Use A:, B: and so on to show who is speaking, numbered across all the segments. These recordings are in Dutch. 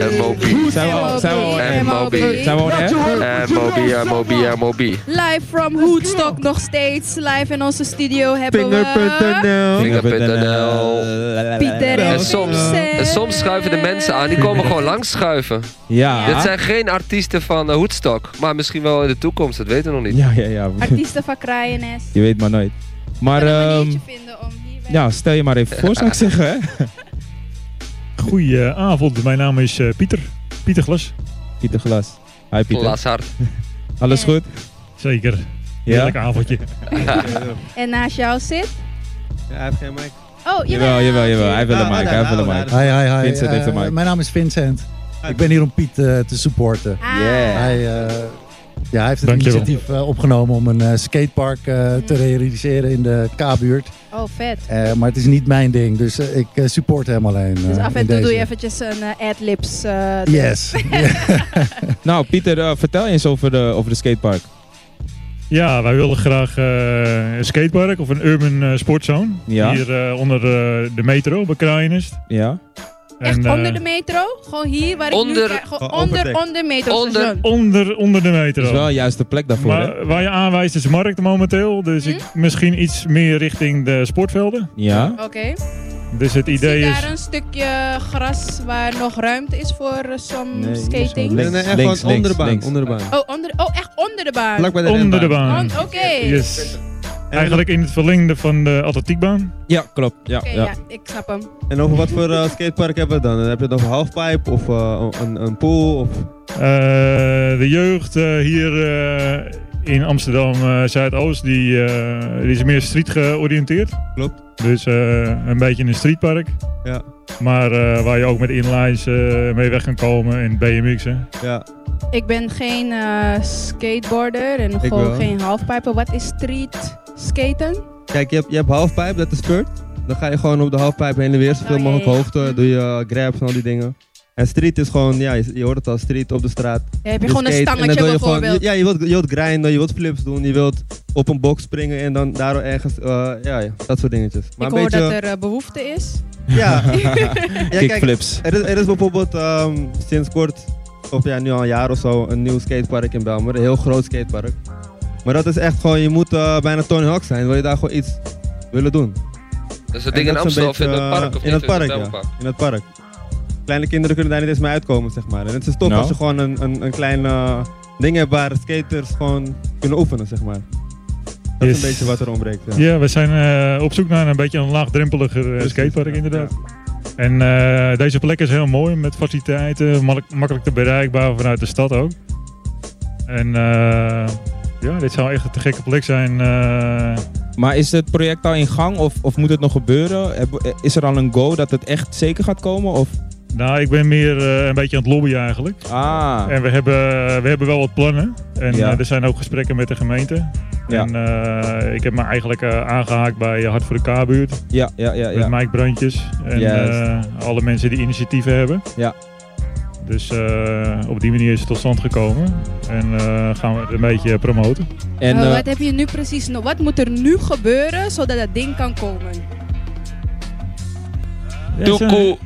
A: Eh, Mobi.
B: Zijn we al- zijn we al-
A: En Moby.
B: Zijn we al hè?
A: Eh, Mobi, eh, Mobi, eh, Mobi.
C: Live from Hoedstock nog steeds. Live in onze studio hebben we...
B: Vinger.nl.
A: Vinger.nl.
C: Pieter
A: En
C: Oh,
A: soms,
C: shit.
A: en soms schuiven de mensen aan, die komen gewoon langschuiven. Dit
B: Ja.
A: zijn geen artiesten van eh, Hoedstok, maar misschien wel in de toekomst, dat weten we nog niet.
B: Ja, ja, ja.
C: Artiesten van Kraaienest.
B: Je weet maar nooit. Maar
C: Maar, een
B: ehm
C: maniertje vinden om hier bij-
B: ja, stel je maar even voor, zou ik zeggen. Hè?
D: Goedenavond, mijn naam is eh, Pieter. Pieter Glas.
B: Pieter Glas. Hi Pieter.
A: Glashard.
B: Alles goed?
D: Zeker.
B: Ja?
D: Heerlijk avondje.
C: En naast jou zit...
E: Ja, hij heeft geen mic.
C: Oh,
B: Jawel, jawel, jawel. Hij wil hem
E: Ah,
B: maken,
E: daar,
B: hij wil hem
E: daar,
B: maken.
F: Hi, hi, hi.
B: Vincent heeft de
F: Eh,
B: mic.
F: mijn naam is Vincent.
E: Hi.
F: Ik ben hier om Piet eh, te supporten.
C: Ah,
B: Yeah.
F: Hij, eh, ja, hij heeft het
D: Dankjewel.
F: initiatief eh, opgenomen om een eh, skatepark eh, te realiseren in de K-buurt.
C: Oh, vet.
F: Eh, maar het is niet mijn ding, dus eh, ik eh, support hem alleen.
C: Dus
F: eh,
C: af en
F: in
C: toe doe
F: deze.
C: je eventjes een eh, ad-libs. eh,
F: Yes.
B: Nou Pieter, eh, vertel eens over de, over de skatepark.
D: Ja, wij willen graag eh, een skatepark of een urban eh, sportzone.
B: Ja.
D: Hier eh, onder eh, de metro bij Kraaienest.
B: Ja?
C: Echt
D: eh, Oh,
C: onder de metro? Gewoon hier waar ik
A: Onder-
C: nu... kijk, Gewoon
E: Gewoon
C: onder,
E: overdekt.
C: onder de metro.
A: Onder-
D: onder, onder de
B: Dat is
D: metro.
B: wel de juiste plek daarvoor, hè?
D: maar waar je aanwijst is markt momenteel. Dus ik,
C: Mhm.
D: misschien iets meer richting de sportvelden.
B: Ja?
C: Oké.
D: Dus het idee
C: Zie
D: is...
C: daar een stukje gras waar nog ruimte is voor eh, som
B: Nee, links,
C: skating?
E: Nee, nee, echt
B: links,
E: gewoon
B: links,
E: onder de baan.
B: links.
E: Onder de baan.
C: Oh, onder, oh, echt onder de baan.
E: Vlak bij de
D: Onder de
E: renbaan.
D: baan.
C: On- Oh, Oké.
D: Yes.
E: En-
D: Eigenlijk in het verlengde van de atletiekbaan.
B: Ja, klopt. Ja,
C: Oké,
B: ja.
C: ja, ik snap hem.
E: En over wat voor eh, skatepark hebben we het dan? Heb je het over halfpipe of eh, een, een pool? Of...
D: Eh, de jeugd eh, hier eh, in Amsterdam eh, Zuidoost die, eh, die is meer street georiënteerd.
E: Klopt.
D: Dus eh, een beetje een streetpark.
E: Ja.
D: Maar eh, waar je ook met inlines eh, mee weg kan komen en BMX'en.
E: Ja.
C: Ik ben geen eh, skateboarder en
E: wel.
C: gewoon geen halfpiper. Wat is street skaten?
E: Kijk, je hebt, je hebt halfpipe, dat is spurt. Dan ga je gewoon op de halfpipe heen en weer,
C: Oh,
E: zoveel
C: ja,
E: mogelijk
C: ja.
E: hoofden. Doe je eh, grabs en al die dingen. En street is gewoon, ja, je, je hoort het al, street op de straat.
C: Dan heb je
E: Je
C: gewoon een
E: skate en dan
C: stangetje
E: wil je gewoon-
C: bijvoorbeeld.
E: ja, je wilt, je wilt grinden, je wilt flips doen, je wilt op een box springen en dan daardoor ergens, eh, ja, ja, dat soort dingetjes.
C: ik hoor dat er eh, behoefte is.
E: Ja, ja kijk,
B: Kickflips.
E: er is, er is bijvoorbeeld ehm, sinds kort, of ja, nu al een jaar of zo, een nieuw skatepark in Belmer. Een heel groot skatepark. Maar dat is echt gewoon, je moet eh, bijna Tony Hawk zijn, wil je daar gewoon iets willen doen.
A: Dat is dat
E: En
A: ding in
E: dat is een
A: Amsterdam of in het
E: beetje,
A: park of
E: eh, in
A: niet?
E: het
A: het
E: park, ja.
A: Belmerpark.
E: in het park. Kleine kinderen kunnen daar niet eens mee uitkomen, zeg maar. En het is tof
B: Nou.
E: als je gewoon een, een, een klein eh, ding hebt waar skaters gewoon kunnen oefenen, zeg maar. Dat is
D: Yes.
E: een beetje wat er ontbreekt. Ja.
D: Ja, we zijn eh, op zoek naar een beetje een laagdrempeliger eh,
E: Precies,
D: skatepark
E: ja,
D: inderdaad. En eh, deze plek is heel mooi met faciliteiten, mak- makkelijk te bereikbaar vanuit de stad ook. En eh, ja, dit zou echt een te gekke plek zijn. eh,
B: Maar is het project al in gang of, of moet het nog gebeuren? Heb- Is er al een go dat het echt zeker gaat komen? Of?
D: nou, ik ben meer eh, een beetje aan het lobbyen eigenlijk.
B: Ah,
D: En we hebben, eh, we hebben wel wat plannen. En
B: Ja.
D: eh, er zijn ook gesprekken met de gemeente.
B: Ja.
D: En eh, ik heb me eigenlijk eh, aangehaakt bij Hart voor de K-buurt.
B: ja, ja, ja.
D: Met
B: ja.
D: Mike Brandjes en
B: Juist.
D: eh, alle mensen die initiatieven hebben.
B: Ja.
D: Dus eh, op die manier is het tot stand gekomen. En eh, gaan we het een beetje promoten.
B: En,
C: Maar
B: eh,
A: Oh,
C: wat heb je nu precies nog? Wat moet er nu gebeuren zodat dat ding kan komen?
A: Doekoe.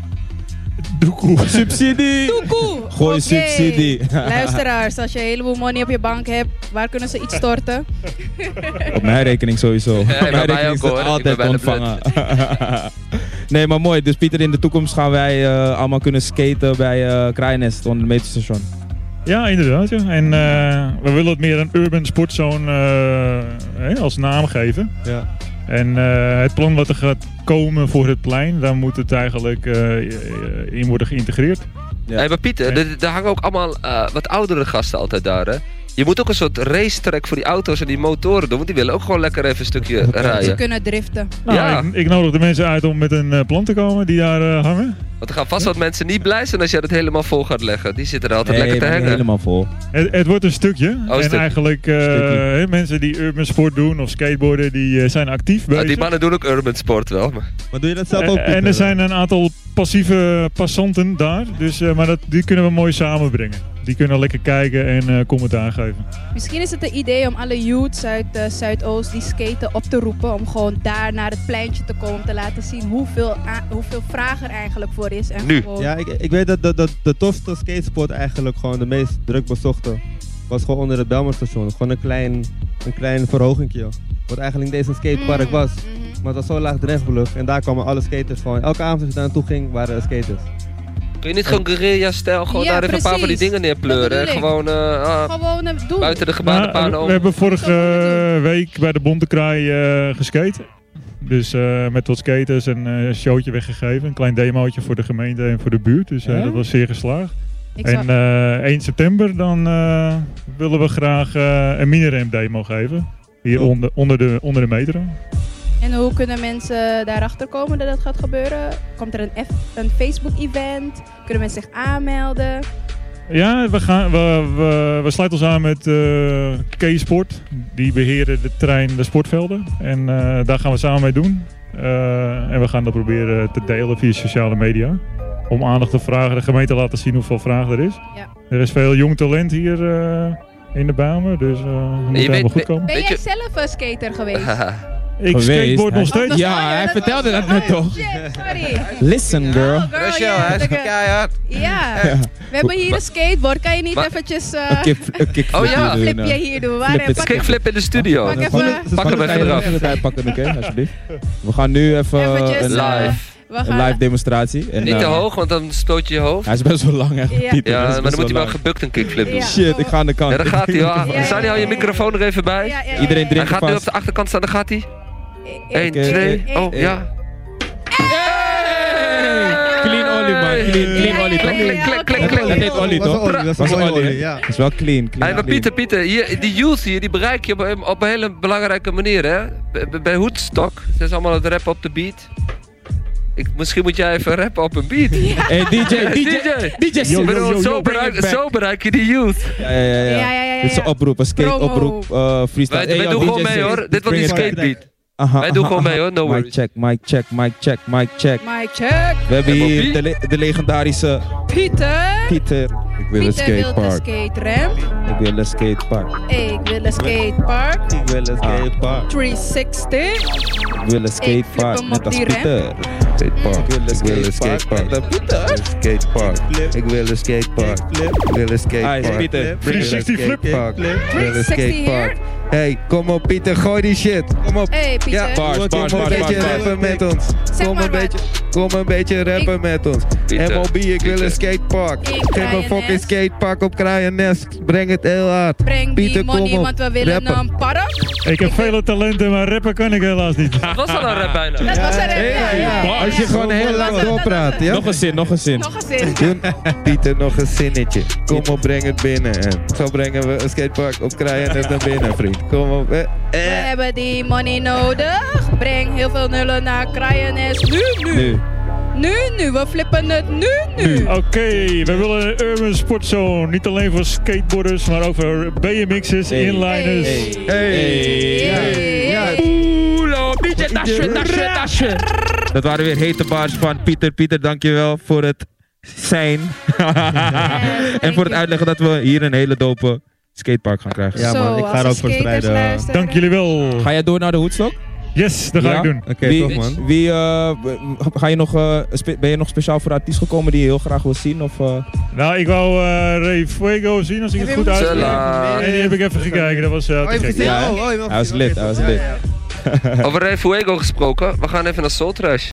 D: Doekoe.
B: subsidie!
C: Toekoe!
B: Gooi
C: Oké.
B: subsidie.
C: Luisteraars, als je een heleboel money op je bank hebt, waar kunnen ze iets storten?
B: Op mijn rekening sowieso. Op
A: bij
B: mijn
A: mij
B: rekening
A: ook,
B: is dat
A: hoor. Ik ben
B: altijd
A: bij de
B: ontvangen. nee, maar mooi. Dus Pieter, in de toekomst gaan wij eh, allemaal kunnen skaten bij eh Kraaienest onder het metrostation.
D: Ja, inderdaad. Ja. En eh, we willen het meer een urban sportzone eh, hè, als naam geven.
E: Ja.
D: En eh, het plan wat er gaat komen voor het plein, daar moet het eigenlijk eh, in worden geïntegreerd.
B: Ja.
A: Hey, maar Pieter,
D: Ja.
A: er- er hangen ook allemaal eh, wat oudere gasten altijd daar, hè? Je moet ook een soort racetrack voor die auto's en die motoren doen, want die willen ook gewoon lekker even een stukje
C: Ze
A: rijden.
C: kunnen driften.
D: Nou,
A: Ja.
D: ik, ik nodig de mensen uit om met een eh, plan te komen die daar eh, hangen.
A: Want er gaan vast wat mensen niet blij zijn als jij dat helemaal vol gaat leggen. Die zitten er altijd
B: Nee,
A: lekker te
B: maar
A: hangen.
B: helemaal vol.
D: Het, het wordt een stukje. en
A: Oh, stukje.
D: eigenlijk eh,
B: Stukje.
D: hè, mensen die urban sport doen of skateboarden, die eh, zijn actief
A: Nou,
D: bezig.
A: die mannen doen ook urban sport wel, maar...
E: Maar doe je dat zelf ook?
D: en er zijn een aantal passieve passanten daar. Dus, eh, maar dat, die kunnen we mooi samenbrengen. Die kunnen lekker kijken en eh, commentaar geven.
C: Misschien is het een idee om alle youths uit eh, Zuidoost die skaten op te roepen. Om gewoon daar naar het pleintje te komen. Om te laten zien hoeveel, a- hoeveel vraag er eigenlijk voor voor is. En
A: Nu.
C: gewoon-
E: Ja, ik, ik weet dat de, de, de tofste skatespot eigenlijk gewoon de meest druk bezochte was gewoon onder het Belmerstation. Gewoon een klein, een klein verhogingje. joh. Wat eigenlijk deze skatepark
C: Mm,
E: was.
C: mhm.
E: Maar het was zo laagdrempelig en daar kwamen alle skaters van. Elke avond als je daar naartoe ging, waren er skaters.
A: Kun je niet gewoon guerrilla-stijl gewoon
C: Ja,
A: daar even een paar van die
C: precies.
A: dingen
C: Dat
A: neerpleuren?
C: bedoel
A: en
C: ik.
A: Gewoon eh, ah,
C: Gewoon eh, doen.
A: buiten de
D: Nou,
A: gebaande paden
D: we,
A: om.
D: we hebben vorige
C: Zo moet
D: eh, week bij de Bonte Kraai eh geskate. Dus eh, met wat skaters en eh, een showtje weggegeven. Een klein demootje voor de gemeente en voor de buurt. Dus eh,
B: Ja?
D: dat was zeer geslaagd.
C: Ik zag-
D: En eh, 1 september dan eh, willen we graag eh, een mini-ramp demo geven. Hier
E: Oh.
D: onder, onder, de, onder de metro.
B: eh,
C: En hoe kunnen mensen daarachter komen dat dat gaat gebeuren? Komt er een, F- een Facebook-event? Kunnen mensen zich aanmelden?
D: Ja, we, gaan, we, we, we sluiten ons aan met eh K-Sport. Die beheren de trein de sportvelden. En eh, daar gaan we samen mee doen. Eh, en we gaan dat proberen te delen via sociale media. Om aandacht te vragen, de gemeente laten zien hoeveel vraag er is.
C: Ja.
D: Er is veel jong talent hier eh, in de Bijlmer, dus eh het moet
A: weet-
D: helemaal goed komen.
C: Ben
A: Weet
C: jij
A: je-
C: zelf een skater geweest?
A: Haha.
D: Ik
B: Geweest,
D: skateboard
B: hij-
D: nog steeds.
C: Oh,
B: Ja, hij
C: dat
B: vertelde
C: was-
B: dat net toch?
C: Shit, sorry.
B: Listen, girl.
C: Oh, girl,
A: Rochelle,
C: yeah,
A: hij is
C: lekker.
A: keihard.
C: Ja, we hebben hier een skateboard. Kan je niet
A: Maar-
C: eventjes eh,
B: Een kip, een kickflip
A: Oh ja.
B: hier
C: een
B: doen,
C: flipje
B: eh.
C: hier doen? Waar,
B: Flip het
C: pak,
B: skate-
A: Kickflip in de studio.
C: Pak
A: Dat-
C: even-
A: Pak hem even eraf.
B: Even bijpakken, oké, alsjeblieft. We gaan nu even
C: Eventjes,
B: een,
C: eh,
B: live,
A: Live.
C: we
B: een
C: gaan-
B: live demonstratie. En,
A: Niet te
B: eh,
A: hoog, want dan stoot je je hoofd.
B: Hij is best wel lang, echt.
C: Ja.
B: Pieter,
A: Ja,
B: hij is
A: maar dan
B: best
A: moet hij wel
B: lang.
A: gebukt een kickflip doen.
C: Ja.
B: Shit, ik ga aan de kant.
A: Ja, daar gaat hij.
B: Ik-
A: Ah, Sani,
C: ja, ja,
A: hou je
C: ja, ja.
A: microfoon er even bij.
C: Ja, ja, ja.
B: Iedereen
A: Hij
B: drinkt
A: gaat nu op
B: vast.
A: de achterkant staan, daar gaat hij. 1,
B: Oké.
A: 2,
C: Eén.
A: oh
B: Eén.
A: ja.
B: Hey! Clean Ollie, man. Clean, clean
C: Ja,
B: Ollie,
C: ja,
B: toch?
C: ja, ja.
A: Klik, klik,
B: Dat
A: klik.
B: deed Olly
E: Was een
B: toch?
E: Olly, was een
B: Was een
E: Olly,
B: Olly,
E: ja.
B: Dat is wel clean, clean.
A: Hey, maar
B: clean.
A: Pieter, Pieter, hier, die youth hier, die bereik je op een, op een hele belangrijke manier, hè? Bij, bij Hoedstok, ze is allemaal het rappen op de beat. Ik, misschien moet jij even rappen op een beat.
B: Hey, DJ,
A: Hey,
B: DJ. DJ,
A: Ik
B: Sim.
A: bedoel, zo,
B: bring
A: bereik,
B: it back.
A: zo bereik je die youth.
B: Ja, ja, ja.
C: Ja, ja,
B: ja.
C: ja. ja,
B: Dit is een
C: ja.
B: oproep, een skate-oproep, eh freestyle.
A: Wij,
B: Hey,
A: wij
B: yo,
A: doen
B: DJ
A: gewoon mee,
B: Sim,
A: hoor. Dit wordt
B: bring
A: een
B: it back.
A: skatebeat.
B: Aha,
A: Wij doen
B: aha,
A: gewoon
B: aha.
A: mee, hoor. No
B: Mic
A: worries.
B: check, mic check, mic check, mic check.
C: Mic check.
B: We hebben
A: En Bobby?
B: hier de, le- de legendarische
C: Pieter.
B: Pieter. Ik wil een
C: Pieter wil een
B: skatepark.
C: skaterem.
B: Ik wil een skatepark.
C: Ik wil een skatepark.
E: Ik wil een
G: Ah.
E: skatepark.
C: 360.
B: Ik wil een
C: flip
B: skatepark.
C: hem
B: Net
C: op
B: als
C: die rem.
B: Pieter. Ik
G: Skatepark.
B: wil een
G: Ik wil een
B: skatepark. Net als
G: skatepark.
B: Pieter.
G: Skatepark. Ik wil een skatepark. Ik wil een
B: Hij is
G: skatepark. Ik
B: Pieter.
D: 360
G: wil een
D: flip.
G: skatepark. Ik wil een
C: 360
G: skatepark. Hey, kom op Pieter, gooi die shit. Kom op.
C: Hey Pieter.
G: Ja,
B: Bars,
G: kom
B: bars,
G: een
B: bars,
G: beetje
B: bars,
G: rappen met ons.
C: Zeg
G: Kom
C: maar
G: een
C: wat.
G: beetje, kom een beetje rappen met ons.
A: Pieter,
G: MLB, ik wil
A: Pieter.
G: een skatepark.
C: In
G: Geef een
C: Kraaiennest.
G: fucking skatepark op Kraaiennest. Breng het heel hard.
C: Breng die
G: Pieter, kom
C: money,
G: op.
C: want we willen
G: Rappen.
C: een park.
D: Ik heb vele talenten, maar rappen kan ik helaas niet.
A: Dat was al een rap bijna.
C: Dat was er. hè? Ja, ja, ja.
G: Als je gewoon heel
C: dat-
G: lang
C: dat-
G: doorpraat, ja?
B: Nog een zin, nog een zin.
C: Nog een zin.
G: Doen Pieter nog een zinnetje. Kom op, breng het binnen. En zo brengen we een skatepark op Kraaiennest naar binnen, vriend. Kom op. eh.
C: We hebben die money nodig. Breng heel veel nullen naar Kraaiennest. Nu, nu.
B: Nu.
C: Nu, nu. We flippen het nu, nu.
D: Oké, we willen een urban sportzone. Niet alleen voor skateboarders, maar ook voor BMX'ers,
B: Hey.
D: inliners.
E: dus.
B: Hey.
A: Oeh, DJ, dasje, dasje, dasje.
B: Dat waren weer hete bars van Pieter. Pieter, dankjewel voor het zijn. en
C: thank
B: voor het
C: you.
B: uitleggen dat we hier een hele dope skatepark gaan krijgen.
E: Ja,
C: Zo,
E: man, ik ga
C: als
E: er
C: de
E: ook voor
C: skaters
E: strijden.
C: luisteren.
D: Dank jullie wel.
B: Ga jij door naar de hoedstok?
D: Yes, dat ga
B: Ja?
D: ik doen.
E: Oké,
B: Wie-
E: toch man.
B: Wie, eh, ga je nog, eh, spe- ben je nog speciaal voor artiest gekomen die je heel graag wil zien? Of, eh,
D: Nou, ik wou eh Ray Fuego zien als ik het goed uitspreek. En die heb ik even gekeken, dat was eh,
E: Oh,
D: te
E: je
D: gek.
E: hebt gezien?
B: Ja,
E: Oh, oh, je hebt
B: hij was
E: gezien.
B: lid,
E: Oké,
B: hij was
E: toch. Ja,
B: lid.
E: ja, ja.
A: Over Ray Fuego gesproken, we gaan even naar Soul Trash.